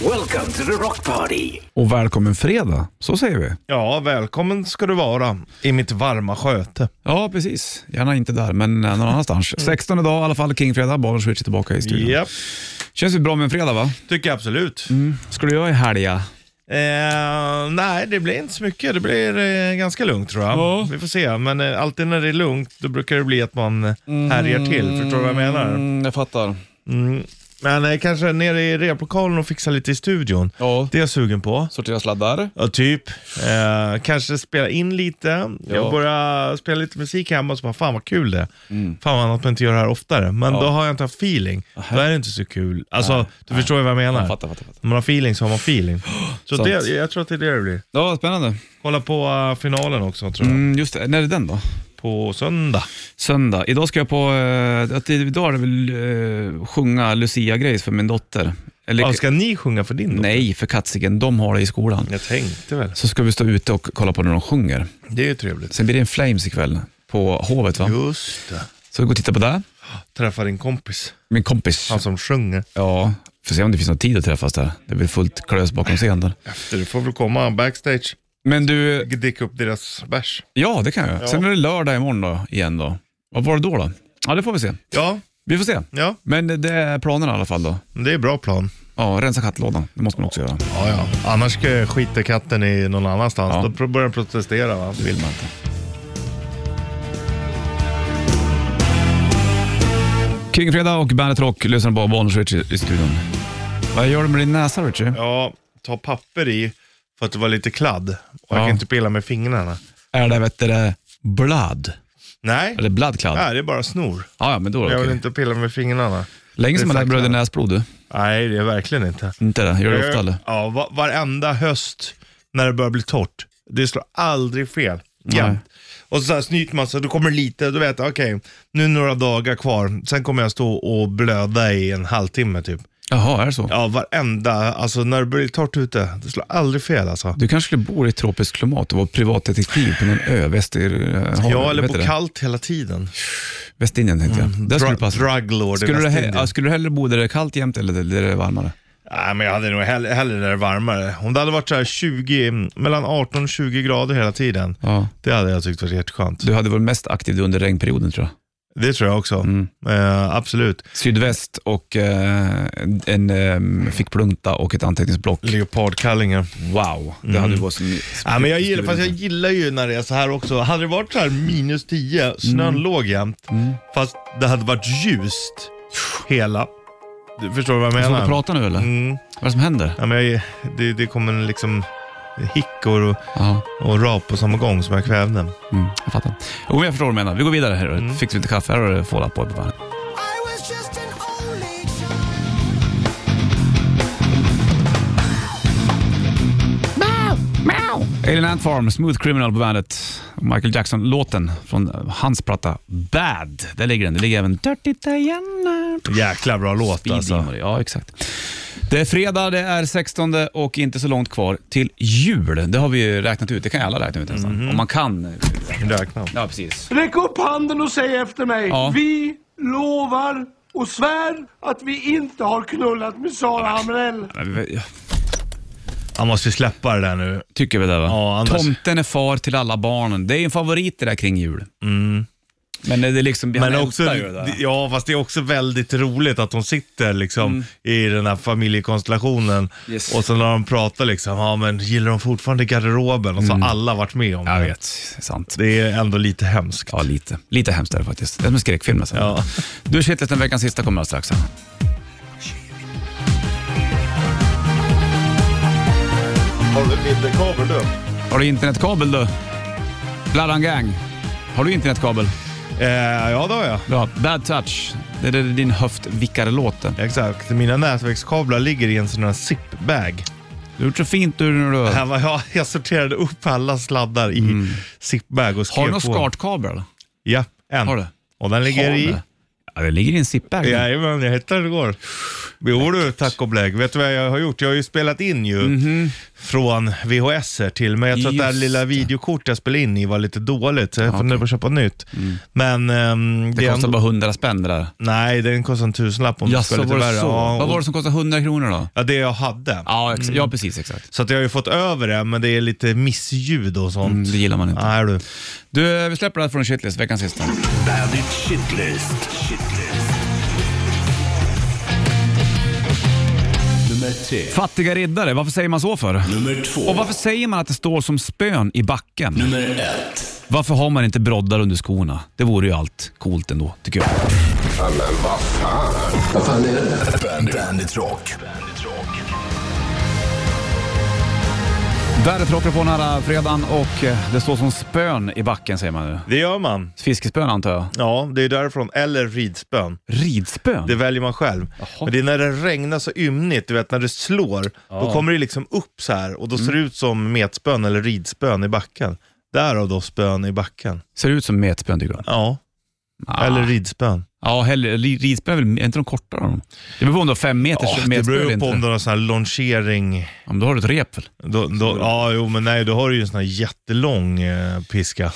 Welcome to the rock party! Och välkommen fredag, så säger vi. Ja, välkommen ska du vara i mitt varma sköte. Ja, precis. Gärna inte där, men eh, någon annanstans. 16 dag i alla fall, King-fredag. Bollen switch är tillbaka i studion. Japp, Känns det bra med en fredag va? tycker jag absolut. Ska du göra i helga? Eh, nej, det blir inte så mycket. Det blir eh, ganska lugnt tror jag. Ja. Vi får se, men eh, alltid när det är lugnt då brukar det bli att man eh, härjar till. Förstår du vad jag menar? jag fattar. Mm. Men eh, kanske nere i replokalen och fixa lite i studion. Ja. Det är jag sugen på. Sortera sladdar. Ja, typ. Eh, kanske spela in lite. Ja. Jag börjar spela lite musik hemma och så bara, fan vad kul det är. Fan vad något man inte gör det här oftare. Men då har jag inte haft feeling. Då är det inte så kul. Alltså, du förstår ju vad jag menar. Fattar, fattar, fattar. När man har feeling så har man feeling. Så Sant. det, jag tror att det är det det blir. Ja, spännande. Kolla på eh, finalen också tror jag. Mm, just det. När är den då? På söndag. Söndag. Idag ska jag på, eh, att idag är det väl eh, sjunga Lucia-grejs för min dotter. Eller, Ja, ska ni sjunga för din då? nej, för katsiken, de har det i skolan. Jag tänkte väl. Så ska vi stå ute och kolla på när de sjunger. Det är ju trevligt. Sen blir det en Flames ikväll på Hovet va? Just det. Så vi går och tittar på det. Träffa din kompis. Min kompis. Han som sjunger. Ja, får se om det finns någon tid att träffas där. Det blir fullt klös bakom scenen där. Efter, du får väl komma backstage. Men du, Dicka upp deras bärs. ja det kan jag. Sen är det lördag imorgon då, igen då. Vad var det då då? Ja, det får vi se. Ja, Vi får se. ja. Men det är planen i alla fall då. Men Det är bra plan. Ja, rensa kattlådan. Det måste man också göra. Ja, ja. Annars ska- skiter katten i någon annanstans. Ja. Då pro- börjar den protestera. Va? Det vill man inte. Kingfredag och Bandet Rock lyssnar på Bonus Richie i studion. Vad gör du med din näsa Richie? Ja, ta papper i för att det var lite kladd. Och Ja. jag kan inte pilla med fingrarna. Är det vet du, det, blad? Nej, Eller bladkladd? Nej det är bara snor. Ja, ja, men då är det Jag vill okej. inte pilla med fingrarna. Länge som man Det är har bröder sagt, ja. näsblod du. Nej, det är verkligen inte. Inte det? Gör Eh. du ofta eller? Ja, va- varenda höst när det börjar bli torrt. Det slår aldrig fel. Ja. Nej. Och så, så här snyter man sig, då kommer det lite, då vet jag okej, nu är några dagar kvar, sen kommer jag stå och blöda i en halvtimme typ. Jaha, är det så? Ja, varenda, alltså när det blir torrt ute, det slår aldrig fel alltså. Du kanske skulle bo i ett tropiskt klimat och vara privatdetektiv på någon ö, Väster... eh, Ja, vad eller på heter det? kallt hela tiden. Västindien tänkte jag. Där skulle Dra- du passa. Druglord Skulle i du, he- Västindien. ja, skulle du hellre bo där det är kallt jämt eller där det är varmare? Nej, men jag hade nog hellre, hellre när det är varmare. Om det hade varit så här 20, mellan 18 och 20 grader hela tiden, Ja. det hade jag tyckt varit jätteskönt. Du hade varit mest aktiv under regnperioden tror jag. Det tror jag också. Eh, absolut. Sydväst och eh, en- en eh, fickplunta och ett anteckningsblock. Leopardkallingar. Wow, det hade du varit som... Mm. Ja, men jag, gillar, fast jag gillar ju när det är så här också. Hade det varit så här minus 10, snön låg jämt, Mm. fast det hade varit ljust hela. Du förstår vad jag Får du menar? prata nu eller? Mm. Vad är det som händer? Ja, men jag, det, det kommer liksom hickor och, Ja. och rap på samma gång som jag kvävde. Mm, jag fattar. Jo, men jag förstår vad du menar. Vi går vidare. här. Mm. Fixar vi inte kaffe, här har du Fall Out Boy på bandet. I was just an only child. Alien Ant Farm, Smooth Criminal på bandet. Michael Jackson-låten från hans platta Bad. Där ligger den. Det ligger även Dirty Diana. Jäkla bra låt Speed alltså. Demon, Ja, exakt. Det är fredag, det är 16 och inte så långt kvar till jul. Det har vi ju räknat ut. Det kan ju alla räkna ut nästan. Mhm. Om man kan. Räkna. Ja, precis. Räck upp handen och säg efter mig. Ja. Vi lovar och svär att vi inte har knullat med Sara Hamrell. Jag Han måste ju släppa det där nu. tycker vi det va? Ja, annars- Tomten är far till alla barnen. Det är ju en favorit det där kring jul. Men det är liksom... han Mm. Men också, ältar ju det där. ja, fast det är också väldigt roligt att de sitter liksom i den här familjekonstellationen Mm. Yes. och så när de pratar liksom, ja men gillar de fortfarande garderoben? Och så Mm. har alla varit med om Jag det. vet, sant. Det är ändå lite hemskt. Ja, lite. Lite hemskt är det faktiskt. Det är som en skräckfilm nästan. Ja. Du, shitlisten den veckans sista kommer alldeles strax. Har du vinterkabel du? Har du internetkabel du? Bladdan gang. Har du internetkabel? Eh, ja, det har jag. Bra. Bad touch. Det är det din höftvickare låter. Exakt. Mina nätverkskablar ligger i en sån här zip-bag. Du har gjort så fint du när du... Här var jag, jag sorterade upp alla sladdar i zip-bag och skrev Mm. Har du någon på. skartkabel? eller? Ja, en. Har du? Och den ligger Har i... du? Ja, det ligger i en zipbag. Jajamän, jag hittade det igår. Jo du, tack och blägg. Vet du vad jag har gjort? Jag har ju spelat in ju från VHS er till, men jag tror att det här Mhm. Just lilla det. videokort jag spelade in i var lite dåligt, så jag funderar på att köpa nytt. Men... ehm, Mm. Det är kostar ändå- bara 100 spänn det där. Nej, den kostar en tusenlapp om det Jaså, ska vara var lite det värre. så? Ja, Mm. Vad var och, det som kostade 100 kronor då? ja, det jag hade. Ja, ex- ja precis exakt. Så att jag har ju fått över det, men det är lite missljud och sånt. Mm, det gillar man inte. Nej du. Du, eh, vi släpper det här från Shitlist, veckans sista. Bandit Shitlist. Shitlist. Nummer tre. Fattiga riddare, varför säger man så för? Nummer två. Och varför säger man att det står som spön i backen? Nummer ett. Varför har man inte broddar under skorna? Det vore ju allt coolt ändå, tycker jag. Bandit, Bandit Rock. Bandit Rock. Värdet rockar på den här fredagen och eh, det står som spön i backen säger man nu. Det gör man. Fiskespön antar jag. Ja, det är därifrån. Eller ridspön. Ridspön? Det väljer man själv. Men det är när det regnar så ymnigt, du vet när det slår, då kommer det liksom upp så här och då Mm. ser det ut som metspön eller ridspön i backen. Därav då spön i backen. Ser ut som metspön tycker du? Ja, eller ridspön. Ja, hellre, ri- ridspön är väl är inte de kortare av dem? Det beror på om du har fem meters Ja, det metspö beror eller ju på inte. om du har någon sån här longering. Ja, men då har du ett rep väl? Då, då, ja, jo men nej, då har du ju en sån här jättelång eh, piska.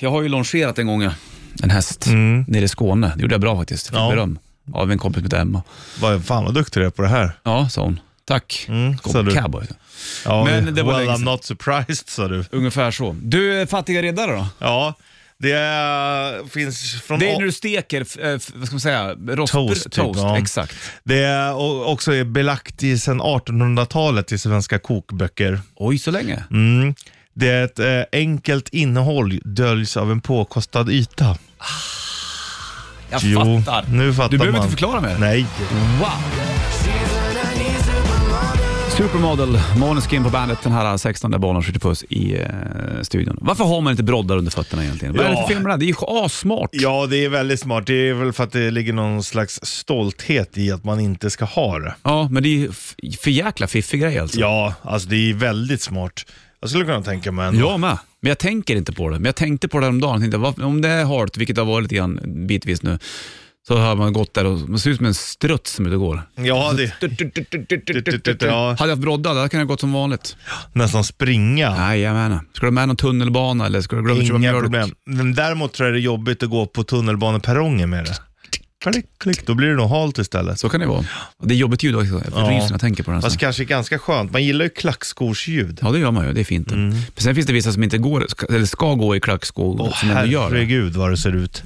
Jag har ju longerat en gång ja. en häst nere i Skåne. Det gjorde jag bra faktiskt. Fick Mm. Ja. beröm av en kompis med Emma. Vad, fan vad duktig du är på det här. Ja, sa hon. Tack. Mm, Kom, sa du. Cowboy. Ja, Men det var well länge I'm sedan. not surprised sa du. Ungefär så. Du, eh, fattiga riddare då? Ja, det eh, finns från... Det är när du steker, f- eh, f- vad ska man säga, rost, Toast, typ, toast ja. exakt. Det är o- också är belagt i sedan 1800-talet i svenska kokböcker. Oj, så länge? Mm. Det är ett eh, enkelt innehåll döljs av en påkostad yta. Jag Jo, fattar. nu fattar du behöver man. inte förklara mer. Nej. Wow! Supermodel, Måneskin på bandet den här 16 bollen skjuter puss i eh, studion. Varför har man inte broddar under fötterna egentligen? Vad är det Ja. för film det här? Det är ju assmart. Ja, det är väldigt smart. Det är väl för att det ligger någon slags stolthet i att man inte ska ha det. Ja, men det är ju f- för jäkla fiffig grej alltså. Ja, alltså det är väldigt smart. Jag skulle kunna tänka mig en. Jag med. Men jag tänker inte på det. Men jag tänkte på det häromdagen. Jag Tänkte, vad- om det är halt, vilket det har varit lite grann bitvis nu, så har man gått där och man ser ut som en strutt som är ute och går. Ja, det Ja. Hade jag haft broddar, där kan jag gått som vanligt. nästan springa. Jajamän. Ska du med någon tunnelbana eller ska du glömma att köpa Inga mjölk? problem. Men däremot tror jag det är jobbigt att gå på tunnelbaneperrongen med det. Klick, klick. Då blir det nog halt istället. Så kan det vara. Det är jobbigt ljud också. Jag Ja. ryser när jag tänker på det. här. Fast kanske ganska skönt. Man gillar ju klackskorsljud. Ja, det gör man ju. Det är fint. Mm. Men sen finns det vissa som inte går, ska, eller ska gå i klackskor Åh som ändå gör det. herregud vad det ser ut.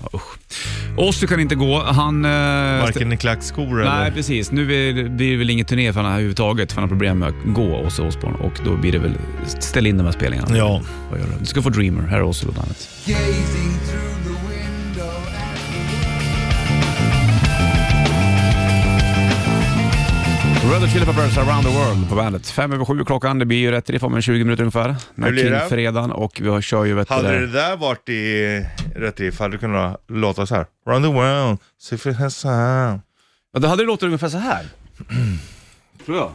Ossi kan inte gå. Han... eh, stä- Varken i klackskor Nej, eller... precis. Nu blir- blir det väl ingen turné för han här överhuvudtaget, för han har problem med att gå, Ozzy Osbourne. Och då blir det väl, ställ in de här spelningarna. Ja. Vad gör du? Du ska få Dreamer. Här är Ozzy på bandet. Gazing through the window at Red Hot Chili Peppers Around the World på bandet. Fem över sju klockan, det blir ju rätt i form om 20 minuter ungefär. När blir det? fredagen och vi har, kör ju vet du Hade där. det där varit i rätt riff hade det kunnat låta så här. Run the world, siffror här så här. Ja, då hade det låtit ungefär så här. Tror jag.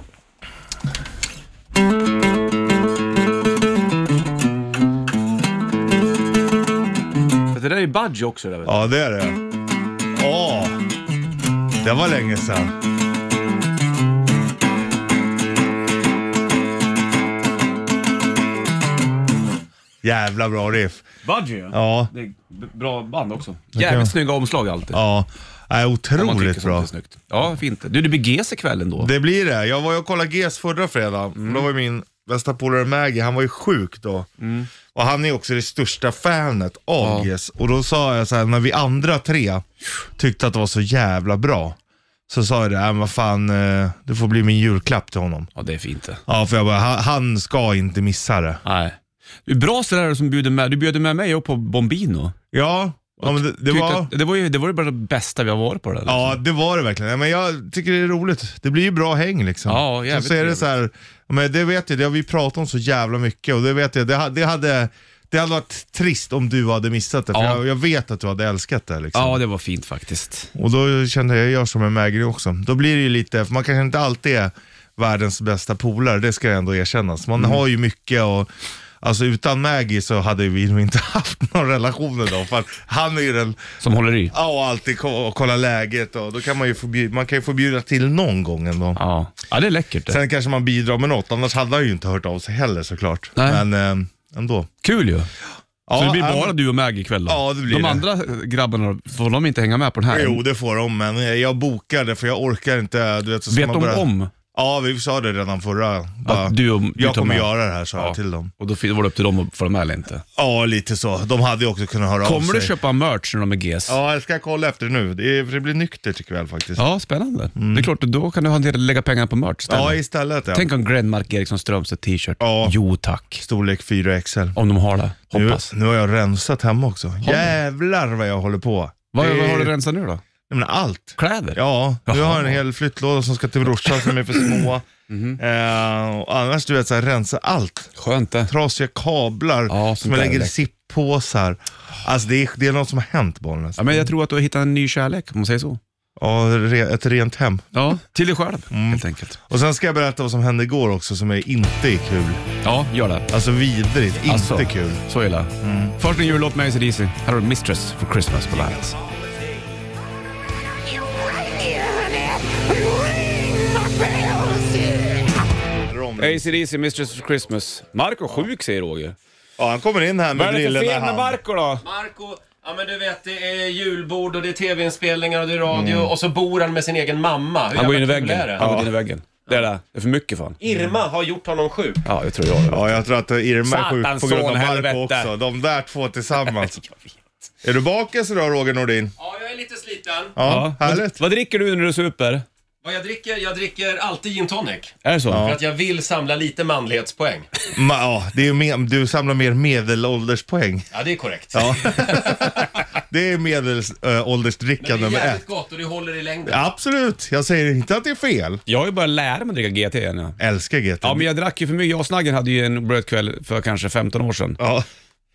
För Det där är ju Budge också. Där, vet du. Ja det är det. Åh! Det var länge sedan. Jävla bra riff. Budgie ja. Ja, Det är b- bra band också. Jävligt snygga omslag alltid. ja. Äh, Om man tycker otroligt sånt bra. är snyggt. Ja, fint. Du, det blir GES ikväll ändå. Det blir det. Jag var ju och kollade GES förra fredagen. Mm. Då var ju min bästa polare Maggie, han var ju sjuk då. Mm. Och han är också det största fanet av GES. Och då sa jag så här, när vi andra tre tyckte att det var så jävla bra. Så sa jag det, äh, men vad fan, eh, det får bli min julklapp till honom. Ja, det är fint det. Ja, för jag bara, han, han ska inte missa det. Nej. Du är bra sådär som bjuder med. Du bjöd med mig upp på Bombino. Ja, ja men det, det Tyckte var... att- det, var ju, det var ju bara det bästa vi har varit på det där. Ja, det var det verkligen. Ja, Men jag tycker det är roligt. Det blir ju bra häng liksom. Ja, så, jävligt så är det trevligt. så här, men det vet jag, det har vi pratat om så jävla mycket och det vet jag, det, ha- det hade det hade varit trist om du hade missat det, för Ja. jag, jag vet att du hade älskat det. Liksom. ja, det var fint faktiskt. Och då kände jag, jag gör som en Maggie också. Då blir det ju lite, för Mm. man kanske inte alltid är världens bästa polare, det ska jag ändå erkänna. Så man har ju mycket och Alltså utan Maggie så hade vi nog inte haft någon relation idag. För att han är ju den, Som håller i. ja och alltid ko- och kolla läget och då kan man ju förbjuda, man kan ju förbjuda till någon gång ändå. Ja, ja det är läckert. Det. Sen kanske man bidrar med något, annars hade han ju inte hört av sig heller såklart. Nej. Men eh, ändå. Kul ju. Ja, eh, så det blir han- bara du och Maggie ikväll då? Ja, det blir De det. andra grabbarna, får de inte hänga med på den här? Jo, det får de, men jag bokar det för jag orkar inte. Du vet, så ska Vet man de börja... om? Ja, vi sa det redan förra. Bara, Att du och, du jag tar kommer med. göra det här, sa Ja. jag till dem. Och då var det upp till dem att få dem med eller inte. Ja, lite så. De hade ju också kunnat höra av Kommer sig. du köpa merch när de är GS? Ja, jag ska kolla efter nu. Det, är, för det blir nyktert ikväll faktiskt. Ja, spännande. Det är klart, då kan du ha en del- lägga pengar på merch istället. Mm. Ja, istället ja. Tänk om Grenmark Eriksson Strömstedt t-shirt. Ja. Jo tack. Storlek 4XL. Om de har det. Nu, Hoppas. nu har jag rensat hemma också. Jävlar vad jag håller på. Vad, Det- vad har du rensat nu då? Nej, men allt. Kläder? Ja, nu Jaha. har jag en hel flyttlåda som ska till brorsan som är för små. Mm-hmm. Eh, och annars du vet, så här, rensa allt. Skönt det. trasiga kablar Ja, som sånt jag där lägger i läck- sippåsar. Alltså det är, det är något som har hänt Bollnäs. Ja, men jag tror att du har hittat en ny kärlek, om man säger så. Ja, re- ett rent hem. Ja, till dig själv Mm. helt enkelt. Och sen ska jag berätta vad som hände igår också som är inte är kul. Ja, gör det. Alltså vidrigt, inte Alltså, kul. Mm. Så illa. Först en jullåt med ACDC. Här har du Mistress for Christmas på bandet. You ring it, you ring the bells, yeah. ACDC, Mistress for Christmas. Marco sjuk säger Roger. Ja, han kommer in här med brillorna i hand. då? Marco, ja men du vet det är julbord och det är tv-inspelningar och det är radio och så bor han med sin egen mamma. Hur Mm. Han går in i jävla kul är väggen. det? Han går in i väggen. Det är det. Det är för mycket fan. Irma har gjort honom sjuk. Ja, det tror jag det. Ja, jag tror att Irma är sjuk Satans på grund av son, Marco helvete. också. De där två tillsammans. är du bakis idag Roger Nordin? Ja, jag är lite sliten. Ja, härligt. Vad dricker du när du super? Vad jag dricker? Jag dricker alltid gin tonic. Är det så? För att jag vill samla lite manlighetspoäng. Ma, ja, det är ju mer, du samlar mer medelålderspoäng. Ja, det är korrekt. Det är medelåldersdricka Men det är nummer ett. jävligt gott och det håller i längden. Absolut, jag säger inte att det är fel. Jag har ju börjat lära mig att dricka GT igen. Ja. Älskar GT. ja, men jag drack ju för mycket. Jag och Snaggen hade ju en brödkväll för kanske 15 år sedan. Ja.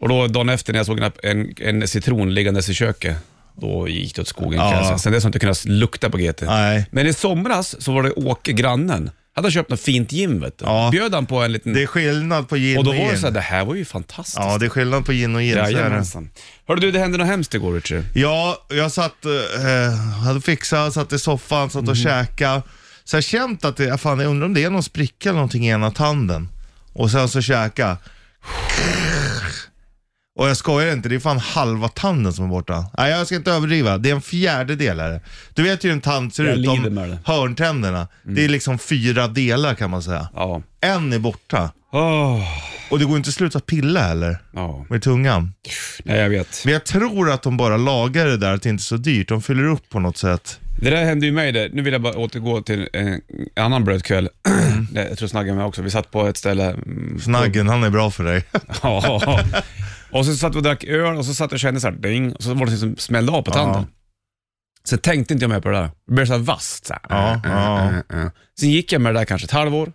Och då dagen efter när jag såg en, en, en citron liggandes i köket, då gick det åt skogen kan jag Ja. säga. Sen dess har jag inte kunnat lukta på GT. Nej. Men i somras så var det Åke, grannen. Han hade köpt något fint gin vet du. Ja. Bjöd han på en liten... Det är skillnad på gin och då och var det gin. såhär, det här var ju fantastiskt. Ja, det är skillnad på gin och gin. så är det. Jajamensan. Hörde du, det hände något hemskt igår Richie. Ja, jag satt, eh, hade fixat, satt i soffan, satt och Mhm. käkade. Så jag känt att det, ja, fan, jag undrar om det är någon spricka eller någonting i ena tanden. Och sen så käka. Och jag skojar inte, det är fan halva tanden som är borta. Nej, jag ska inte överdriva. Det är en fjärdedel är det. Du vet ju hur en tand ser Jag ut, lider med det. Mm. de hörntänderna. Det är liksom fyra delar kan man säga. Ja. En är borta. Åh. Och det går inte att sluta pilla heller. Ja, Med tungan. nej jag vet. Men jag tror att de bara lagar det där, att det inte är så dyrt. De fyller upp på något sätt. Det där hände ju mig det. Nu vill jag bara återgå till en annan brödkväll. Det- jag tror Snaggen var med också. Vi satt på ett ställe. mm, Snaggen, han är bra för dig. Ja. Och så satt vi och drack öl och så satt jag och kände såhär ding och så var det som smällde av på tanden. Sen tänkte inte jag mer på det där. Det blev såhär vasst. Så här. Ja, ja. Äh, äh. Sen gick jag med det där kanske ett halvår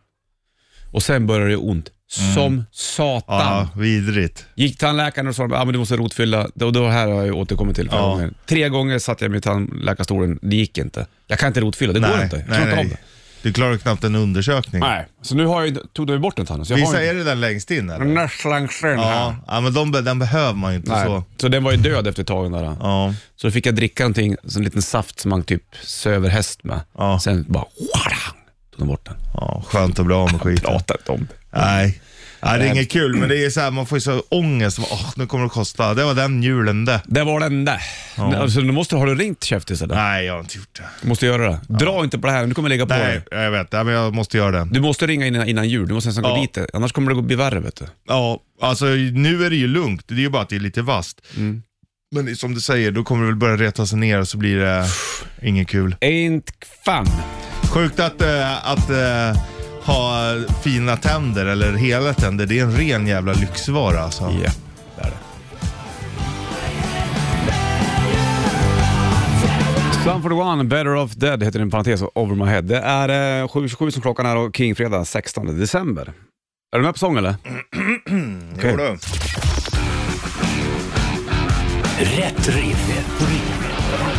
och sen började det ont. Som satan. Mm. Ja, vidrigt. Gick tandläkaren och sa att ah, men du måste rotfylla. Och då här har jag återkommit till flera Ja. gånger. Tre gånger satt jag mig i tandläkarstolen, det gick inte. Jag kan inte rotfylla, det går inte. Jag klarar inte av det. Du klarar knappt en undersökning. Nej, så nu har jag, ju- tog de bort den tanden. Så jag Vissa har är ju det den längst in eller? en nässlangsen Ja, här. ja men de, be- den behöver man ju inte Nej. så. Så. den var ju död efter ett tag. Den där. Ja. Så då fick jag dricka någonting, så en liten saft som man typ söver häst med. Ja. Sen bara wharang, tog de bort den. ja, skönt att bli av med skiten. Pratar inte om det. Nej. Nej, det är inget kul, men det är så här, man får ju så ångest. Åh, nu kommer det kosta. Det var den julen det. Det var den där. Alltså, nu måste, har du ringt käftisar? där? Nej, jag har inte gjort det. Du måste göra det. Dra inte på det här, du kommer lägga på dig. Nej, jag vet. Ja, men jag måste göra det. Du måste ringa innan, innan jul, du måste nästan Ja. gå dit. där. Annars kommer det gå bli värre vet du. Ja, alltså nu är det ju lugnt. Det är ju bara att det är lite vasst. Men som du säger, då kommer det väl börja reta sig ner och så blir det inget kul. Ain't fun. Sjukt att, eh, att eh, ha fina tänder eller hela tänder. Det är en ren jävla lyxvara alltså. Ja, det är det. Sunford One, Better Off Dead heter den i parentes, Over My Head. Det är eh, 7.27 som klockan är och Kingfredag 16 december. Är du med på sång eller? Jo då. Rätt riff.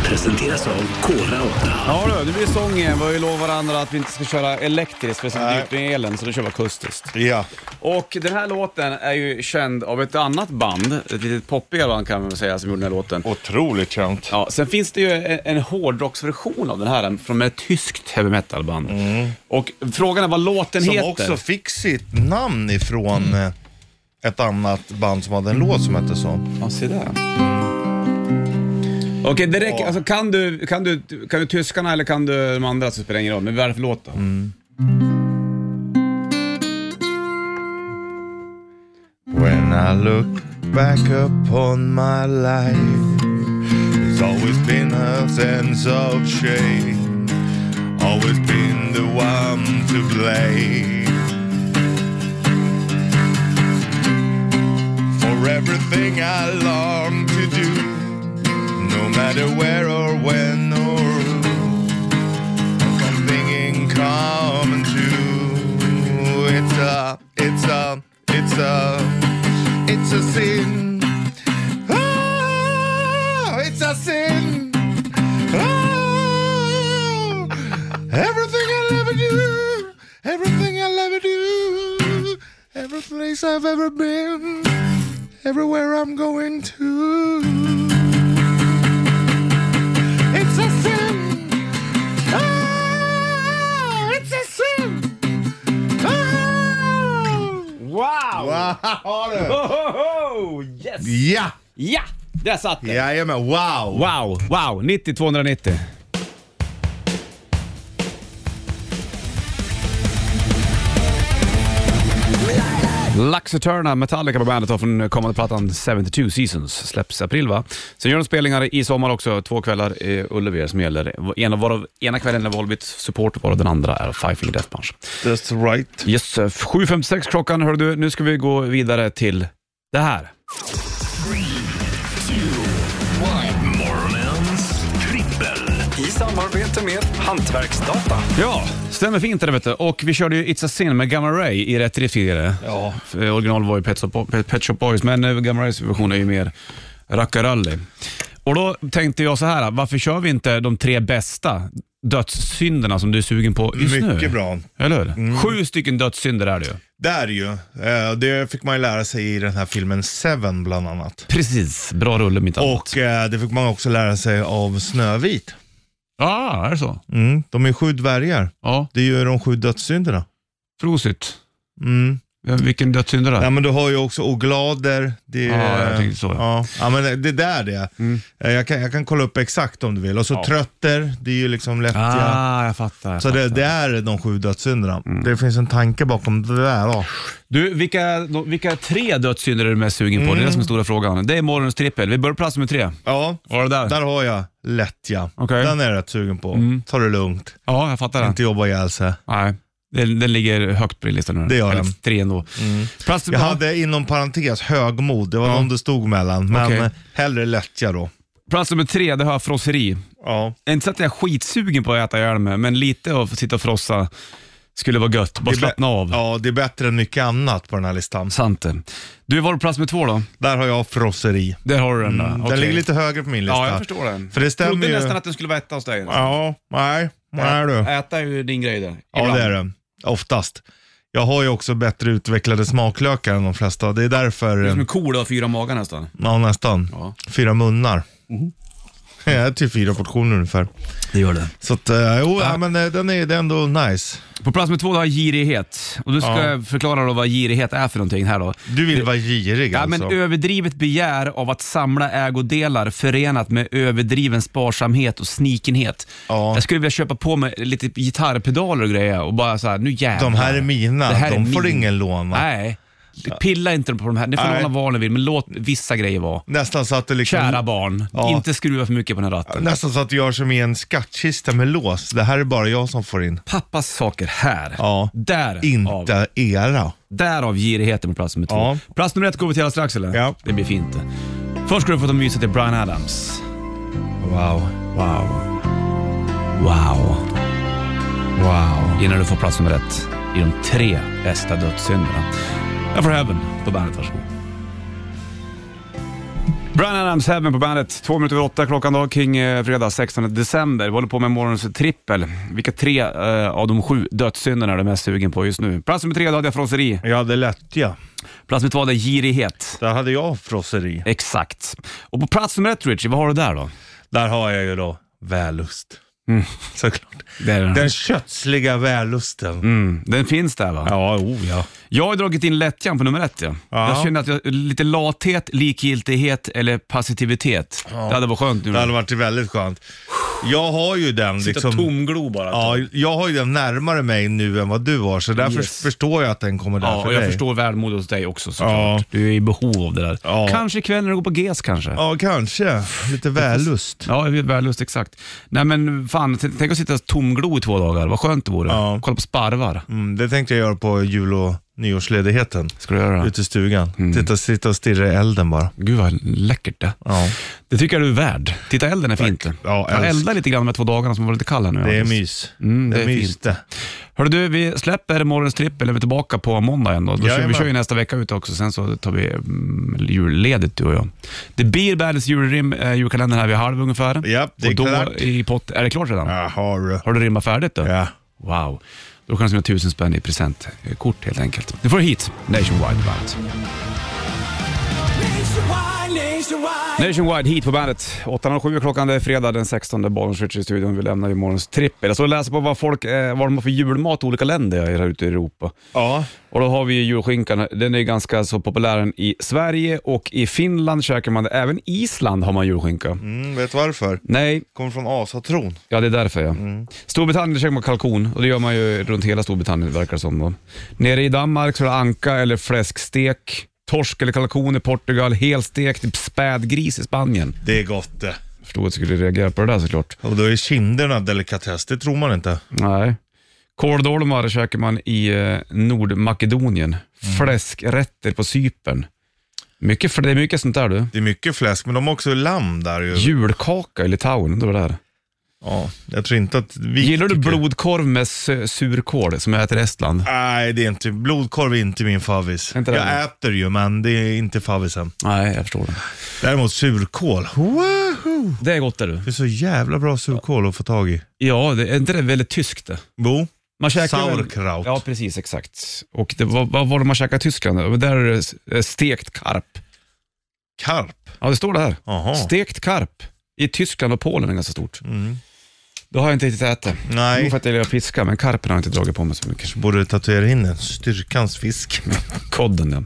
presenteras av Kora 8. Ja du, det blir sången. Vi har ju lovat varandra att vi inte ska köra elektriskt för det är så Nej. dyrt med elen, så då kör vi akustiskt. Ja. Och den här låten är ju känd av ett annat band, ett litet poppigare band kan man väl säga, som gjorde den här låten. Otroligt känt. Ja, sen finns det ju en, en hårdrocksversion av den här från ett tyskt heavy metal-band. Och frågan är vad låten Som heter. också fick sitt namn ifrån eh, ett annat band som hade en låt som hette så. Ja, se där. Okej, det räcker. Alltså, kan, du, kan, du, kan du tyskarna eller kan du de andra så spelar det ingen roll. Men vad är det för låt då? When I look back upon my life, it's always been a sense of shame. Always been the one to blame for everything I long to do, no matter where or when or who. Something in common too. It's a, it's a, it's a. It's a sin. Ah, it's a sin. Ah, everything I'll ever do, everything I'll ever do, every place I've ever been, everywhere I'm going to. It's a sin. Ah, it's a sin. Ah. Wow! Wow, du. Ohoho! Yes! Ja! Ja! Där satt den! Jajamän, wow! Wow, wow. 90 290. Lux Eterna, Metallica på bandet då från kommande plattan 72 Seasons. Släpps i april va? Sen gör de spelningar i sommar också, två kvällar i Ullevi som gäller. Ena, varav, ena kvällen är Volbit support, varav den andra är Five Finger Death Punch. That's right. Yes, eh, 7.56 klockan hör du. Nu ska vi gå vidare till det här. Morgonens trippel. I samarbete med Hantverksdata. Ja, stämmer fint det vet du. Och vi körde ju It's a Sin med Gamma Ray i rätt riff tidigare. Ja. Original var ju Pet Shop, Bo- Pet Shop Boys, men eh, Gamma Rays version är ju mer rackarrally. Och då tänkte jag så här, varför kör vi inte de tre bästa dödssynderna som du är sugen på just nu? Mycket bra. Eller hur? Sju stycken dödssynder är det ju. Där ju. Eh, Det fick man ju lära sig i den här filmen Seven bland annat. Precis, bra rulle mitt annat. Och eh, det fick man också lära sig av Snövit. ah, är det så? Mm. De är sju dvärgar. Ja, Det är ju de sju dödssynderna. prosit. Mm. Vem- Vilken dödssynd är det? Ja, men du har ju också oglader. Det är, Ja, jag tänkte så, ja. Mm. Ja. Ja, men det där det. Eh, Jag, kan, jag kan kolla upp exakt om du vill. Och så trötter, det är ju liksom lättja. Ah, jag fattar. Jag Så fattar. Mm. det, det är de sju dödssynderna. Det finns en tanke bakom det där. Ja. Du, vilka, vilka tre dödssynder är du mest sugen på? Det är Mm. det som är stora frågan. Det är morgonens trippel. Vi börjar på plats nummer tre. ja. Var det där? Där har jag lättja. Okej. Mm. Den är jag rätt sugen på. Ta det lugnt. Ja, jag fattar det. Inte jobba ihjäl sig. Nej, den, den ligger högt på din lista nu. Det gör Eller den. Mm. Tre ändå. Plats Jag nummer, hade inom parentes högmod. Det var Ja. de det stod mellan. Men Okej. okay. hellre lättja då. plats nummer tre, det har jag frosseri. Ja. Inte så att jag är skitsugen på att äta öl med, men lite att sitta och frossa skulle vara gött. Bara Det är bä- slappna av. Ja, det är bättre än mycket annat på den här listan. Sant det. Du, var du på plats nummer två då? Där har jag frosseri. Där har du den där. Okej. Mm, Den ligger lite högre på min lista. Ja, jag förstår den. För det stämmer trodde ju. nästan att den skulle vara etta hos dig. Ja, nej. Nej du. Äta är ju din grej där. Ja, det är det. Oftast. Jag har ju också bättre utvecklade smaklökar än de flesta. Det är därför... Som en ko, du har fyra magar nästan. Ja, Mhm. nästan. Ja. Fyra munnar. Jag äter ju fyra portioner ungefär. Det gör det. Så att, eh, jo, ja. men eh, den är, det är ändå nice. På plats med två då har jag girighet. Och du ska jag förklara då vad girighet är för någonting här då. Du vill vara girig Ja, men alltså. överdrivet begär av att samla ägodelar förenat med överdriven sparsamhet och snikenhet. Ja. Jag skulle vilja köpa på mig lite gitarrpedaler och grejer och bara så här, nu jävlar. De här är mina, Det här är de får min. ingen låna. Nej, pilla inte på de här. Ni får Nej. låna vad ni vill, men låt vissa grejer vara. Nästan så att det liksom... Kära barn, Ja. inte skruva för mycket på den här ratten. Nästan så att jag gör som i en skattkista med lås. Det här är bara jag som får in. Pappas saker här. Ja. Därav, Inte era. därav girigheten på plats nummer två. Ja. Plats nummer ett går vi till alldeles strax eller? Ja. Det blir fint det. Först ska du få ta myset till Brian Adams. Wow. Wow. Wow. Wow. Innan du får plats nummer ett i de tre bästa dödssynderna. Ja, For Heaven på bandet, varsågod. Brian Adams, Heaven på bandet. Två minuter över åtta klockan då, kring eh, fredag 16 december. Vi håller på med morgonens trippel. Vilka tre eh, av de sju dödssynderna är du mest sugen på just nu? Plats nummer tre, då hade jag frosseri. Jag hade lättja. Plats nummer två, hade jag girighet. Där hade jag frosseri. Exakt. Och på plats nummer ett, Richie, vad har du där då? Där har jag ju då vällust. Såklart. Det är den. Den kötsliga vällusten. Mm, den finns där va? Ja, oh ja. Jag har dragit in lättjan på nummer ett. Ja. Ja. Jag känner att jag, lite lathet, likgiltighet eller passivitet. Det hade varit skönt nu. Det hade varit väldigt skönt. Jag har ju den Sitta liksom... tomglo bara. typ. Ja, jag har ju den närmare mig nu än vad du har, så därför Yes. förstår jag att den kommer där Ja, för och jag dig. förstår välmodet hos dig också Ja. såklart. Du är i behov av det där. Ja. Kanske ikväll när du går på GES kanske. Ja. Ja, kanske. Lite vällust. Ja, jag vet, vällust exakt. Nej men fan, t- tänk att sitta tomglo i två dagar. Vad skönt det vore. Ja. Kolla på sparvar. Mm, det tänkte jag göra på jul och nyårsledigheten. Ska du göra det? Ute i stugan. Titta, sitta och stirra i elden bara. Gud vad läckert det. Ja. Det tycker jag du är värd. Titta elden är fint. Ja, Ja, jag älsk. eldar lite grann de här två dagarna som har varit lite kalla nu. Det är Alex. mys. Mm, det det är är mys fint. det. Hörru du, vi släpper morgonens trippel. Vi är tillbaka på måndag igen. Då. Då kör, vi Jajamän. kör ju nästa vecka ut också. Sen så tar vi mm, julledigt du och jag. Det blir Bandits julrim, eh, julkalendern här vid halv ungefär. Japp, det är och då klart. I pott, är det klart redan? Jaha du. Har du rimmat färdigt då? Ja. Wow. Då kan du vinna tusen spänn i presentkort helt enkelt. Nu får du hit Nationwide på bandet. Nationwide hit på bandet. 8.07 klockan, det är fredag den 16 Bollnäs Ritchie i studion. Vi lämnar ju morgons trippel. Jag står och läser på vad folk, eh, vad de har för julmat i olika länder här ute i Europa. Ja. Och då har vi ju julskinkan, den är ju ganska så populär i Sverige och i Finland käkar man det. Även Island har man julskinka. Mm, vet du varför? Nej, Kommer från asatron. Ja, det är därför ja. Storbritannien käkar man kalkon och det gör man ju runt hela Storbritannien verkar det som. Då. Nere i Danmark så är det anka eller fläskstek, torsk eller kalkon i Portugal, helstekt spädgris i Spanien. Det är gott det. Jag förstod att du skulle reagera på det där såklart. Och då är kinderna delikatess, det tror man inte. Nej. Kåldolmar käkar man i eh, Nordmakedonien. Fläskrätter på Cypern. Mycket, för det är mycket sånt där du. Det är mycket fläsk, men de har också lamm där ju. Julkaka i Litauen, det var där. Ja, jag tror inte att vi Gillar du tycker- blodkorv med sö- surkål som jag äter i Estland? Nej, det är inte, blodkorv är inte min favvis. Inte det? jag äter ju, men det är inte favvisen. Nej, jag förstår det. Däremot surkål. Woohoo! Det är gott det du. Det är så jävla bra surkål att få tag i. Ja, det, är inte det väldigt tyskt det? Bo, Man käkar väl- sauerkraut. Ja, precis, exakt. Och det, vad, vad var det man käkade i Tyskland? då? Men Där är det s- eh, stekt karp. Karp. Ja, det står det här. Jaha. Stekt karp. I Tyskland och Polen är det ganska stort. Mm. Det har jag inte riktigt ätit. Nej. Nog för att jag gillar att fiska, men karpen har jag inte dragit på mig så mycket. Borde tatuera in en styrkans fisk. Kodden ja.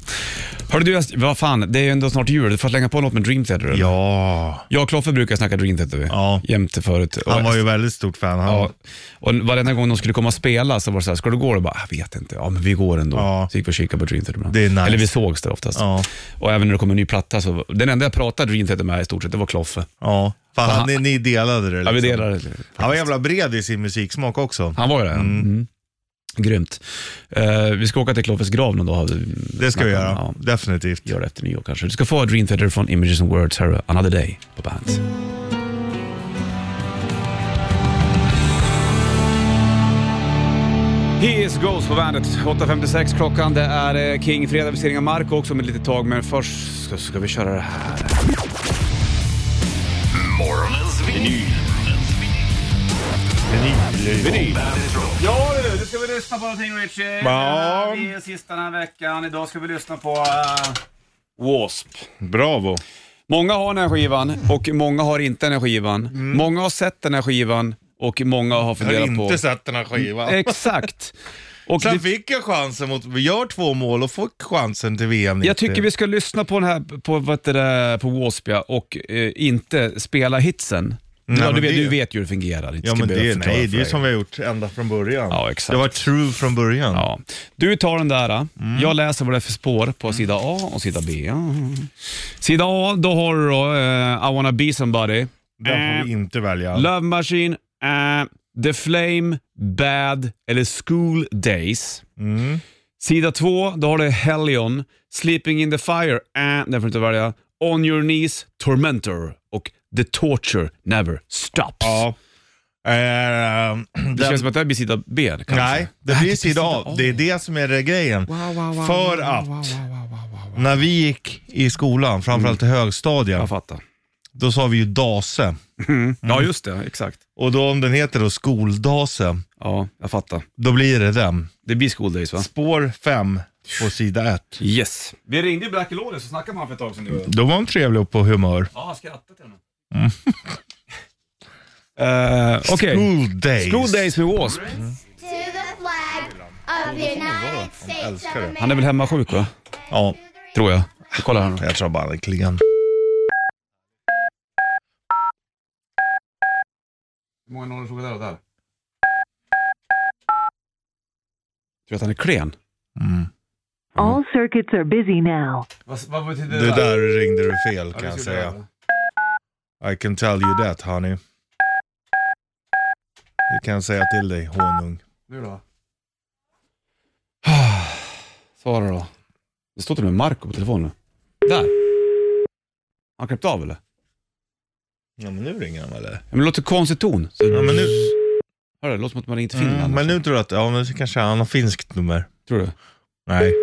Hörru du, jag- vad fan, det är ju ändå snart jul. Du får slänga på något med Dream Theater. eller? Ja. Jag och Kloffe brukar snacka Dream Theater vi. Ja. Jämte förut. Han Och- var ju väldigt stort fan. Han, Ja, och varenda gång de skulle komma och spela så var det så här, ska du gå? Och bara, jag vet inte. Ja, men vi går ändå. Ja. Så gick vi och kikade på Dream Theater ibland. Det är nice. Eller vi sågs där oftast. Ja. Och även när det kom en ny platta så, den enda jag pratade Dream Theater med i stort sett, det var Kloffe. ja. Fan, Fan, han, ni, ni delade det. Ja, vi liksom. delade. Han var jävla bred i sin musiksmak också. Han var ju det. ja. Mm. Grymt. Eh, vi ska åka till Kloffes grav någon dag. Det ska vi göra. Ja, Definitivt. gör det efter nyår kanske. Du ska få Dream Theater från Images and Words här, Another Day på bandet. He is Ghost på bandet. 8.56 klockan. Det är eh, King Fredag. Vi ser inga Marco också om ett litet tag, men först ska, ska vi köra det här. Morgonens vinyl. Ja du, nu ska vi lyssna på någonting Richie. Ja. Det är sista den här veckan. Idag ska vi lyssna på uh, W.A.S.P. Bravo. Många har den här skivan och många har inte den här skivan. Många har sett den här skivan och många har Mm. Jag har funderat på... inte sett den här skivan. Eh, Exakt. Och Sen det, fick jag chansen mot, vi gör två mål och får chansen till VM 90. jag tycker vi ska lyssna på den här, på, vad heter det, på W.A.S.P. ja, och eh, inte spela hitsen. Du, Nej, ja, du, men vet, det- du vet ju hur det fungerar. Inte Ja ska men behöva det, förklara nej, för det är ju dig. som vi har gjort ända från början. Ja, exakt. Det var true från början. Ja. Du tar den där. Mm. Jag läser vad det är för spår på sida A och sida B. Ja. Sida A, då har du då, eh, I wanna be somebody, Den får vi inte välja. Love Machine, eh, The Flame, Bad eller School Days. Mm. Sida 2, då har du Hellion, Sleeping in the Fire, eh, den får du inte välja. On Your Knees, Tormentor och The Torture Never Stops. ja. Ehm, Det den- känns som att det här blir sida B. Kanske. Nej, det blir sida av. Det är det som är det grejen. För att när vi gick i skolan, framförallt i Mm. högstadiet, Jag fattar. då sa vi ju DASE. Ja, just det. Exakt. Och då om den heter då skoldase, Ja, jag fattar. då blir det den. Det blir skoldays va? Spår 5 på sida 1. Yes. Vi ringde ju Black Lawless och snackade med honom för ett tag sedan. du och jag. Då var han trevlig och på humör. Ja, han skrattade till honom. Mm. Eh, Okej. School days. School Days med W.A.S.P. To the flag of the United States of älskar det. America. Han är väl hemma sjuk va? Ja, Tror jag. Vi kollar här nu. jag tror bara han är klingan. Hur många nollor såg där och där? Tror du att han är klen? All circuits are busy now. Vad, vad betyder Det där ringde du fel Ja, kan det jag skulle säga. vara. I can tell you that honey. Det kan jag säga till dig, honung. Nu då? Svara då. Det står till och med Marco på telefonen. Där! Har han klippt av eller? Ja men nu ringer han eller? Ja, Men det låter konstig ton. Så, Ja men nu, hör du, det låter som att man ringt till Finland. mm, men nu tror jag att, ja men så kanske han har finskt nummer. Tror du? Nej.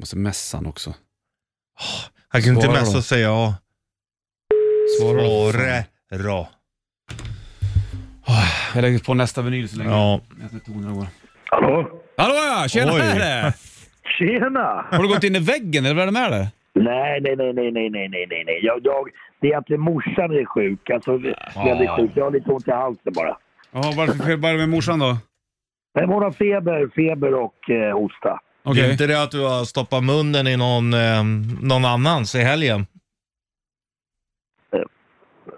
Måste messa han också. Han kan inte Svara messa då. och säga ja. Svara då. Svara då. Jag lägger på nästa vinyl så länge. Ja. Nästa toner går. Hallå? Hallå ja! Tjenare! Tjena! Har du gått in i väggen eller vad är det med dig? Nej, nej, nej, nej, nej, nej, nej, nej, nej. Jag, jag, det är egentligen morsan är sjuk. Alltså, väldigt sjuk. Jag har lite ont i halsen bara. Ja, varför bara med morsan då? Men hon har feber, feber och eh, hosta. Det är Okej. inte det att du har stoppat munnen i någon, eh, någon annans i helgen?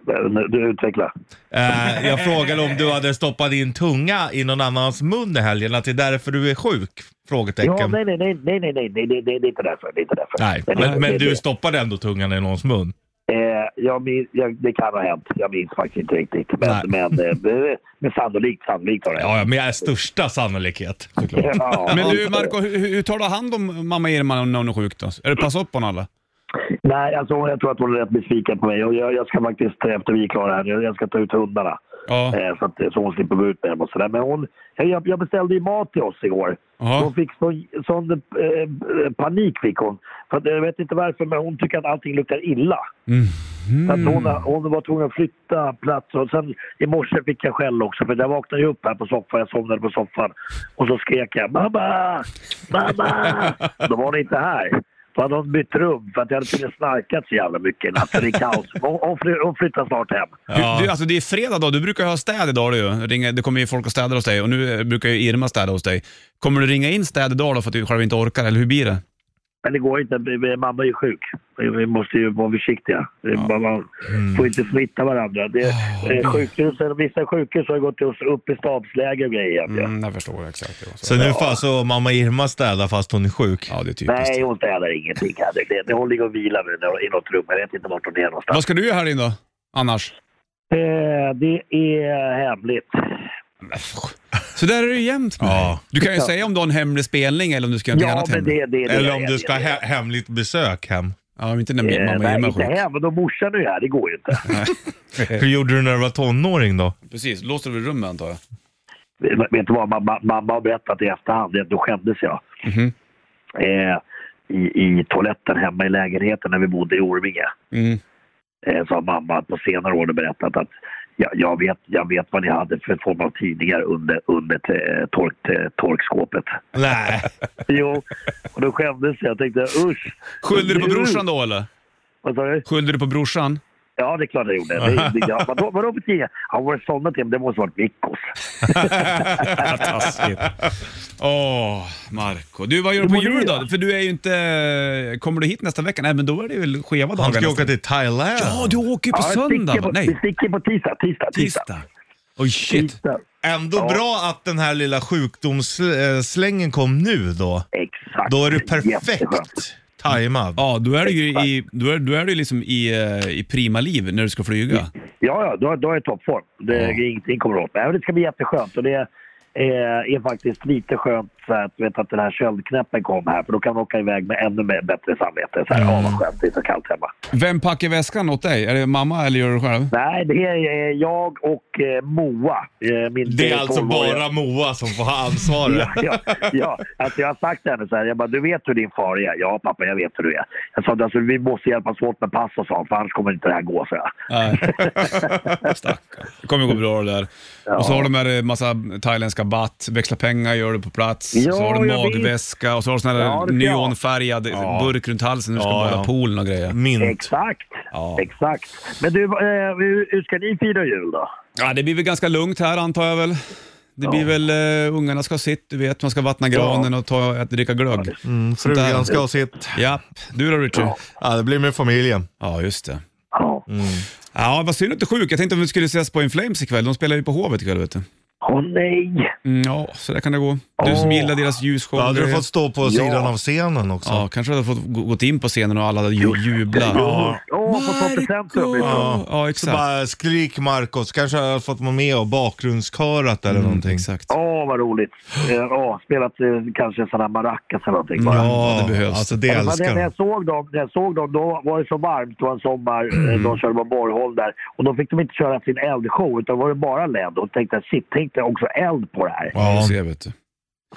Men, Du utveckla. Eh, jag frågade om du hade stoppat din tunga i någon annans mun i helgen, att det är därför du är sjuk? Frågetecken. Ja, nej, nej, nej, nej, nej, nej, nej, nej, nej, det är inte därför. Det är inte därför. Nej, det- men, men det- du det- stoppade ändå tungan i någons mun? Eh, jag minns, jag, det kan ha hänt. Jag minns faktiskt inte riktigt. Nej. Men, men, eh, men sannolikt, sannolikt har det hänt. Ja, ja, med största sannolikhet. Ja. Men du Marco, hur, hur tar du hand om mamma Irma när hon är sjuk då? Är det passa upp på henne eller? Nej, alltså, jag tror att hon är rätt besviken på mig. Och jag, jag ska faktiskt, efter vi är klara här, jag jag ska ta ut hundarna. Ja. Eh, Så, att, så hon slipper gå ut med dem och sådär. Men hon, jag, jag beställde ju mat till oss igår. Jaha. Hon fick sån, sån eh, panik fick hon. För att, jag vet inte varför men hon tycker att allting luktar illa. Mhm. Så att hon, har- hon var tvungen att flytta plats och sen i morse fick jag skäll också för jag vaknade ju upp här på soffan, jag somnade på soffan och så skrek jag mamma, mamma. Då var hon inte här. Då hade hon bytt rum för att jag hade tydligen snarkat så jävla mycket i natt så det är kaos. Hon, hon fly- hon flyttar snart hem. Du, du, alltså det är fredag då, du brukar ju ha städ idag du ju. Ringa, det kommer ju folk och städar hos dig och nu eh, brukar ju Irma städa hos dig. Kommer du ringa in städ idag då för att du själv inte orkar, eller hur blir det? Men det går inte. Vi- vi- Mamma är ju sjuk. Vi- Vi måste ju vara försiktiga. Vi- Man man får inte smitta varandra. Det, eh, sjukhusen, vissa sjukhus har ju gått oss upp i stabsläge och grejer. igen, ja. Mm, jag förstår exakt. Det Så nu får alltså mamma Irma städa fast hon är sjuk? Ja, det är typiskt. Nej, hon städar ingenting. här. Det- Det, det, hon ligger och vilar nu i något rum. Jag vet inte vart hon är någonstans. Vad ska du göra här inne då, annars? Eh, det är hemligt. Så där är det ju jämt med Ja. dig. Du kan ju säga om du har en hemlig spelning eller om du ska göra något Ja, annat men hemligt. det, det, det Eller om det- du ska ha det- he- hemligt besök hem? Ja, men inte när min Eh, mamma nej, Irma är inte sjuk. hem. Men då morsan är ju här. Det går ju inte. Hur gjorde du när du var tonåring då? Precis, låste du rummet antar jag? Vet- Vet du vad mamma, mamma har berättat i efterhand? det- Då skämdes jag. Mhm. Eh, i, I toaletten hemma i lägenheten när vi bodde i Orminge. Mm. Eh, så har mamma på senare år berättat att jag, jag, vet, jag vet vad ni hade för form av tidningar under, under eh, tork, eh, torkskåpet. Nej. Jo, och då skämdes jag. Jag tänkte usch. Skyllde du på brorsan då eller? Vad sa du? Skyllde du på brorsan? Ja, det är klart jag gjorde. Det, det, ja, vadå, vadå för tidningar? Ja, var det sådana tidningar? Det måste ha varit Mikkos. Taskigt. Åh, Marco. Du, vad gör du Hur på mår du jul då? då? För du är ju inte... Kommer du hit nästa vecka? Nej, men då är det väl skeva dagar Han ska nästa åka vecka. till Thailand. Ja, du åker ju på Ja, jag sticker söndag. på- va? Vi Nej, sticker på tisdag. Tisdag. Tisdag. tisdag. Oj, shit. tisdag. Ändå bra att den här lilla sjukdomsslängen kom nu då. Exakt. Då är du Jätteskönt. perfekt tajmad. Ja, då är du ju i, då är, då är du ju liksom i, eh, i prima liv när du ska flyga. Ja, ja, då, då är jag i toppform. Det, Ingenting kommer åt mig. Ja, men Det ska bli jätteskönt. Och det, eh, är faktiskt lite skönt så här, att veta att den här köldknäppen kom här för då kan man åka iväg med ännu mer, bättre samvete. Så här, Mm. ja vad skönt, det är så kallt hemma. Vem packar väskan åt dig? Är det mamma eller gör du det själv? Nej, det är eh, jag och eh, Moa. Eh, min Det är alltså 12-åriga. bara Moa som får ha ansvaret. Ja, ja, ja. Alltså jag har sagt till henne så här, jag bara, du vet hur din far är? Ja pappa, jag vet hur du är. Jag sa, alltså, vi måste hjälpas åt med pass och sånt, för annars kommer inte det här gå, så jag. Nej. Stackarn. Det kommer gå bra det där. Och så har du med dig massa thailändska baht, växla pengar gör du på plats. Ja, så har du jag vet. magväska och så har du sån här Ja, det ska jag ha. neonfärgad burk runt halsen när du ska Ja, bada ja. poolen och grejer. Mynt. Exakt, Ja. exakt. Men du, eh, hur, hur ska ni fira jul då? Ja, det blir väl ganska lugnt här antar jag väl. Det blir väl, eh, ungarna ska ha sitt, du vet, man ska vattna granen och ta, äta, dricka glögg. Mm, frugan ska ha sitt. Ja, du då Richard? Ja. Ja, det blir med familjen. just det. Ja. Ja, vad synd att du är sjuk. Jag tänkte om vi skulle ses på In Flames ikväll. De spelar ju på Hovet ikväll vet du. Åh nej! Mm, ja, så där kan det gå. Du som Åh. gillar deras ljusshow. Då hade du grejer. fått stå på sidan av scenen också. Ja, kanske hade fått gå- gått in på scenen och alla hade ju, jublat. Ja. Åh, på Totte Centrum! liksom. Ja, ja, Så exakt. bara skrik Marcos, kanske har fått vara med och bakgrundskörat eller någonting. exakt. Åh, vad roligt! Eh, Ja, spelat eh, kanske sådana maracas eller någonting. va? Ja, det behövs. Alltså det Men älskar när de. jag såg dem, när jag såg dem, då var det så varmt, det var en sommar, eh, de körde på Borgholm där. Och då fick de inte köra sin eldshow, utan var det bara LED. Och tänkte jag, shit, tänkte jag också eld på det här. Ja, Ja. du ser, vet du.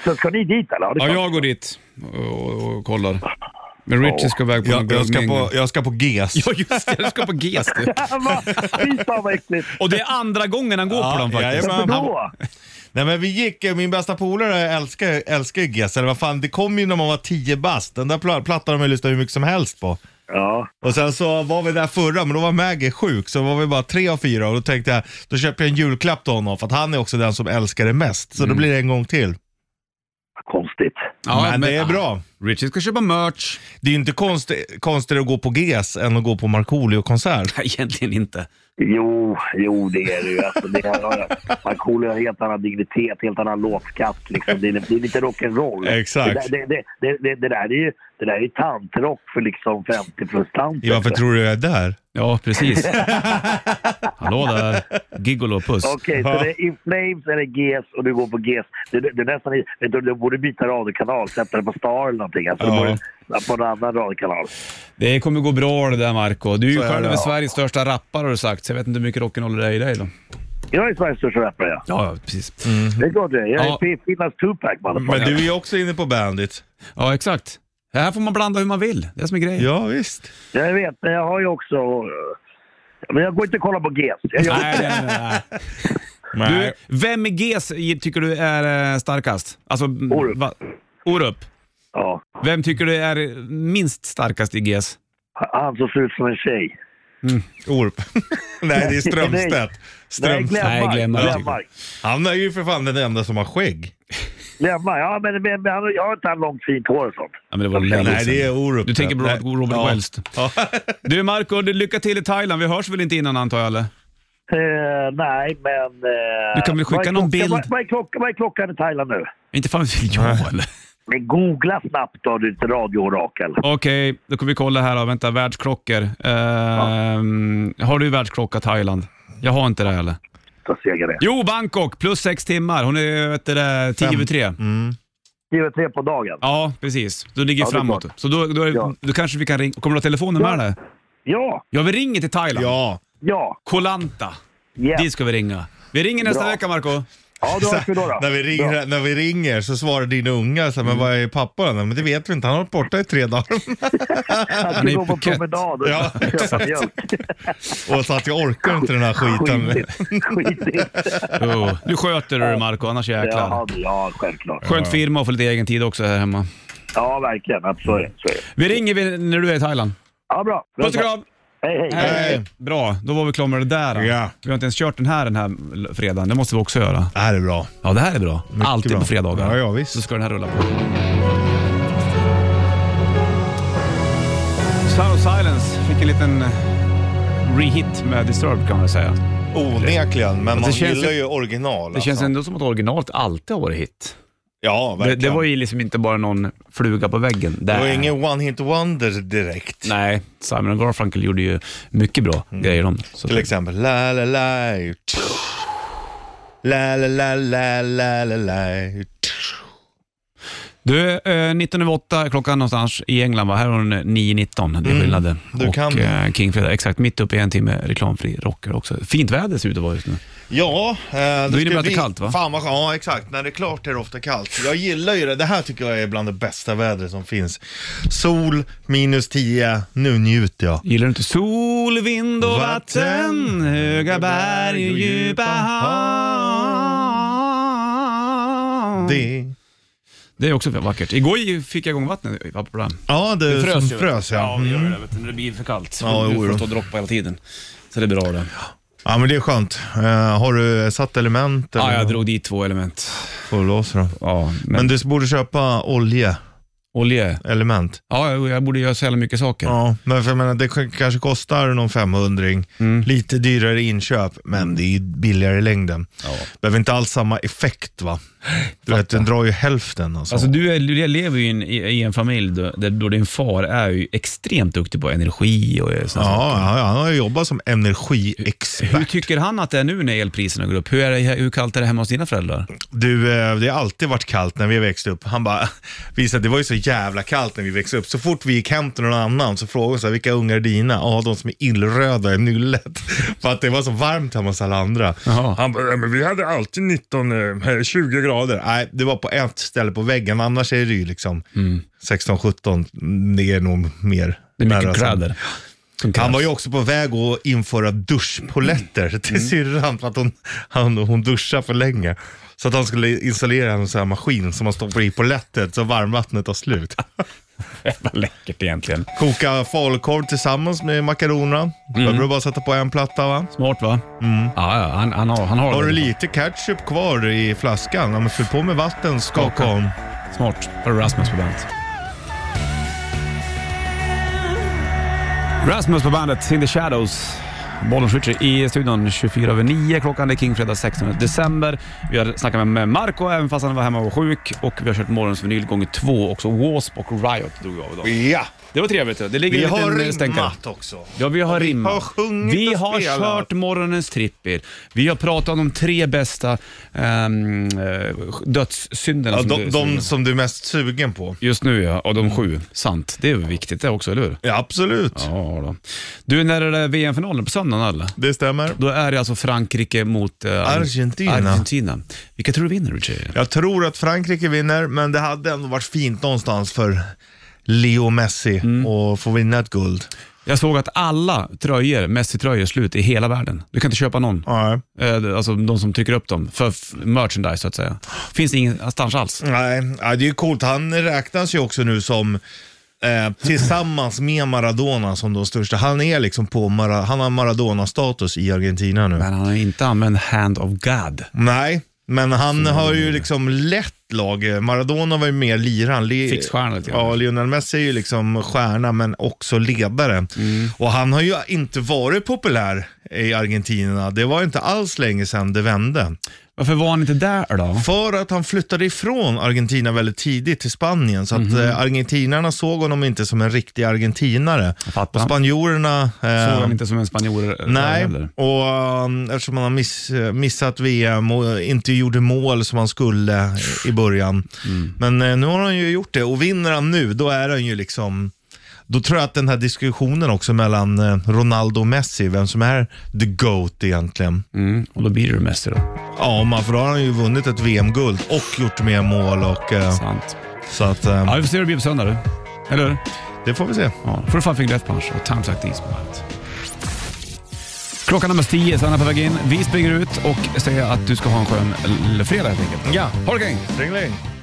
Så ska ni dit eller? det ja är jag går dit och, och, och kollar. Men Richie ska iväg på någon Jag, jag, ska glöggmingel. på, jag ska på GES. Ja, just det. Du ska på GES du. klart. Va? Fy fan vad äckligt! Och det är andra gången han går Ja, på dem faktiskt. jajamän. Varför då? Nej men vi gick, eh, min bästa polare älskar, älskar ju GES, eller vad fan, det kom ju när man var 10 bast. Den där pla- plattan har man ju lyssnat hur mycket som helst på. Ja. Och sen så var vi där förra, men då var Maggie sjuk, så var vi bara tre av fyra och då tänkte jag, då köper jag en julklapp till honom för att han är också den som älskar det mest. Så då blir det en gång till. Konstigt. Ja, men, det är bra. Richie ska köpa merch. Det är ju inte konst, konstigare att gå på GES än att gå på Markoolio-konsert. Nej, egentligen inte. Jo, jo det är det ju. Alltså, det är- Markoolio har helt annan dignitet, helt annan låtskatt. Liksom. Det, är, det är lite rock'n'roll. Exakt. Det, där- det, det, det, det, det där är ju, det där är ju tantrock för liksom 50 plus tanter. Ja, Varför tror du jag är där? Ja, precis. Hallå där. Gigolo, puss. Okej, så det är In Flames eller GES och du går på GES. Det, det, det är nästan, i- vet du, du borde byta radiokanal, sätta det på Star eller någonting. Alltså, Ja. du borde, på en annan radiokanal. Det kommer gå bra det där Marco. Du är ju Så är själv det. Sveriges största rappare har du sagt, så jag vet inte hur mycket rock'n'roll det är i dig då. Jag är Sveriges största rappare, ja. Ja, ja, precis. Mhm. Det är klart det är. Jag Ja. är P- Finlands Tupac, Men motherfucker. du är ju också inne på Bandit. Ja, exakt. Här får man blanda hur man vill. Det är det som är grejen. Ja, visst. Jag vet, men jag har ju också... eh, Men jag går inte och kollar på GES. Jag gör Nej, nej, nej, nej. Du, vem i GES i- tycker du är eh, starkast? Alltså, m, Orup. va- Orup. Ja, Vem tycker du är minst starkast i GES? han som ser ut som en tjej. Orp. Nej, det är Strömstedt. Nej, Strömstedt. Nej, Glenmark. Glenmark. Glenmark. Han är ju för fan den enda som har skägg. Glenmark. Ja, men, men, men han- jag har inte han långt fint hår och sånt. Ja, men det var Nej, länge Nej, det är sedan. Orup. Du tänker på Nej. Robert ja. Wells. Ja. Du Marco, du, lycka till i Thailand. Vi hörs väl inte innan antar jag eller? Eh, nej, men... eh, Du kan väl skicka vad är någon klockan- bild? Vad, vad, är klockan, vad är klockan i Thailand nu? Inte fan vet jag eller? Men googla snabbt då, ditt radioorakel. Okej, då kan vi kolla här då. Vänta, världsklockor. Ehm, Har du världsklocka Thailand? Jag har inte det heller. Så segar det. Jo, Bangkok plus sex timmar. Hon är vet du, det, tio över tre. Skriver tre på dagen. Ja, precis. Du ligger Ja, det är framåt. klart. Så då, då, är, Ja. då kanske vi kan ringa. Kommer du ha telefonen med dig? Ja, Ja, vi ringer till Thailand. ja. ja, Koh Lanta. yes. Dit ska vi ringa. Vi ringer nästa Bra. vecka, Marco. Ja, då hörs vi då. då. När, vi Bra. Mm. ringer, när vi ringer så svarar dina unga så här, men vad är pappa då? Men det vet vi inte, han har varit borta i tre dagar. Jag Han är ska gå i på Phuket. promenad och Ja, köpa mjölk. Och så att jag orkar inte den här skiten. Skitigt. Skitigt. Jo, Nu sköter du det, Marco. Annars jäklar. Ja, ja, självklart. Skönt för Irma att få lite egen tid också här hemma. Ja, verkligen. Att Så är det. Så är det. Vi ringer vi- när du är i Thailand. Ja, bra. Puss och kram! Hej, hej. Hej. Bra, då var vi klara med det där. då. Ja. Vi har inte ens kört den här den här fredagen. Det måste vi också göra. Det här är bra. Ja, det här är bra. Alltid bra. på fredagar. Ja, ja, visst. Så ska den här rulla på. Sound of Silence fick en liten eh, rehit med Disturbed kan man säga. Onekligen, men man det känns gillar ju- ju original. Det känns alltså. ändå som att originalet alltid har varit hit. Ja, Det, verkligen. det var ju liksom inte bara någon fluga på väggen. det Där. var ingen one hit wonder direkt. Nej, Simon och Garfunkel gjorde Mm. ju mycket bra grejer om. Så Till exempel, la la la. La la la la la la la. Du, eh, 19 över 8 klockan någonstans i England, va? här har hon 9.19. Det är Mm, skillnaden. du och kan. eh, King Fredag, exakt. Mitt uppe i en timme reklamfri rocker också. Fint väder ser ut att vara just nu. Ja, eh, det innebär ska att det är bli- kallt, va? Fan vad, ja, exakt. När det är klart är det ofta kallt. Jag gillar ju det. Det här tycker jag är bland det bästa vädret som finns. Sol, minus 10. Nu njuter jag. Gillar du inte sol, vind och Vatten, vatten, höga berg och djupa hav? Det... Det är också vackert. Igår ju- fick jag igång vattnet i Vappla. Ja, det, Det frös, frös ju. som frös ja. Mm. det gör det. Vet du, när det blir för kallt. Ja, Du jo då. får stå och droppa hela tiden. Så det är bra det. Ja men det är skönt. Eh, har du satt element? Ja, jag något? drog dit två element. Fullblåser då. Ja, men, Men du borde köpa oljeelement. olja. Ja, jag jag borde göra så jävla mycket saker. Ja, men för jag menar, det k- kanske kostar någon 500 Mm. Lite dyrare inköp, men det är ju billigare i längden. Behöver inte alls samma effekt va? Du vet, den drar ju hälften alltså. Alltså du, är, du lever ju i en, i, i en familj då, där då din far är ju extremt duktig på energi och sånt. ja, ja, han har ju jobbat som Hur energiexpert. tycker han att det är nu när elpriserna går upp? Hur, är det, hur kallt är det hemma hos dina föräldrar? Du, eh, det har alltid varit kallt när vi växte upp. Han bara visade, det var ju så jävla kallt när vi växte upp. Så fort vi gick hem till någon annan så frågade hon så här, vilka ungar är dina? Ja, de som är illröda i nyllet. För att det var så varmt hemma hos alla andra. Jaha. Han bara, "Ja, men vi hade alltid 19, eh, 20 grader. Nej, det var på ett ställe på väggen, annars är det ju liksom 16, 17, det är nog mer. Mm. Det är nära mycket sant. kläder. som Han krävs. var ju också på väg att införa duschpoletter till syrran för att hon, han, hon duschar för länge. Så att han skulle installera en sån här maskin som man stoppar i poletten så varmvattnet tar slut. Jävla läckert egentligen. Koka falukorv tillsammans med makaronerna. Behöver du bara sätta på en platta va? Smart va? Ja, ja, han, han har, han har, Mm. Har du det. lite ketchup kvar i flaskan? Ja, men fyll på med vatten, skaka Skaka. om. Smart. Har du Rasmus på bandet? Rasmus på bandet, In the Shadows. Bollen Switcher i studion 24 över 9. Klockan är Kingfredag 16 december. Vi har snackat med Marco även fast han var hemma och var sjuk. Och vi har kört morgonens vinyl gånger två också. Wasp och Riot drog vi av idag. Ja, Det var trevligt. Det ligger vi en har liten eh, stänkare. rimmat också. Ja, vi har Och vi rimmat. har sjungit Vi och har spelat. kört morgonens trippel. Vi har pratat om de tre bästa ehm, eh, dödssynderna. Ja, som de, du- de som- som du är mest sugen på. Just nu ja, och de sju. Sant. Det är viktigt det också, eller hur? Ja, absolut. Ja, då. Du, när är det VM-finalen på söndagen eller? Det stämmer. Då är det alltså Frankrike mot eh, Argentina. Argentina. Vilka tror du vinner, Richie? Jag tror att Frankrike vinner, men det hade ändå varit fint någonstans för Leo Messi att få vinna ett guld. Jag såg att alla tröjor, Messi-tröjor, är slut i hela världen. Du kan inte köpa någon. Nej. Eh, Alltså de som trycker upp dem för f- merchandise så att säga. Finns det ingenstans alls. Nej, ja, det är ju coolt. Han räknas ju också nu som eh, tillsammans med Maradona som de största. Han är liksom på Mara- han har Maradona-status i Argentina nu. Men han har inte använt hand of God. Nej, men han har ju liksom lett laget. Maradona var ju mer liran. Le- Fixstjärna lite grann. Ja, Lionel Messi är ju liksom stjärna men också ledare. Mm. Och han har ju inte varit populär i Argentina. Det var inte alls länge sedan det vände. Varför var han inte där då? För att han flyttade ifrån Argentina väldigt tidigt till Spanien. Så att Mhm. eh, argentinarna såg honom inte som en riktig argentinare. fattar. Och spanjorerna... eh, Såg han inte som en spanjor? eh, Nej, heller? och um, eftersom han har miss, missat VM och inte gjorde mål som han skulle i början. Mm. Men eh, nu har han ju gjort det och vinner han nu, då är han ju liksom... Då tror jag att den här diskussionen också mellan eh, Ronaldo och Messi, vem som är the GOAT egentligen. Mm, och då blir det Messi då. Ja, man, för då har han ju vunnit ett VM-guld och gjort mer mål. Och, eh, Sant. så att, eh, Ja, vi får se hur det blir på söndag du. Eller hur? det får vi se. Ja, då får du Five Finger Death Punch och Times Like These på bandet. Klockan är närmast 10, Sanna på väg in. Vi springer ut och säger att du ska ha en skön l- fredag helt enkelt. Ja. Ha det gäng! Ringling.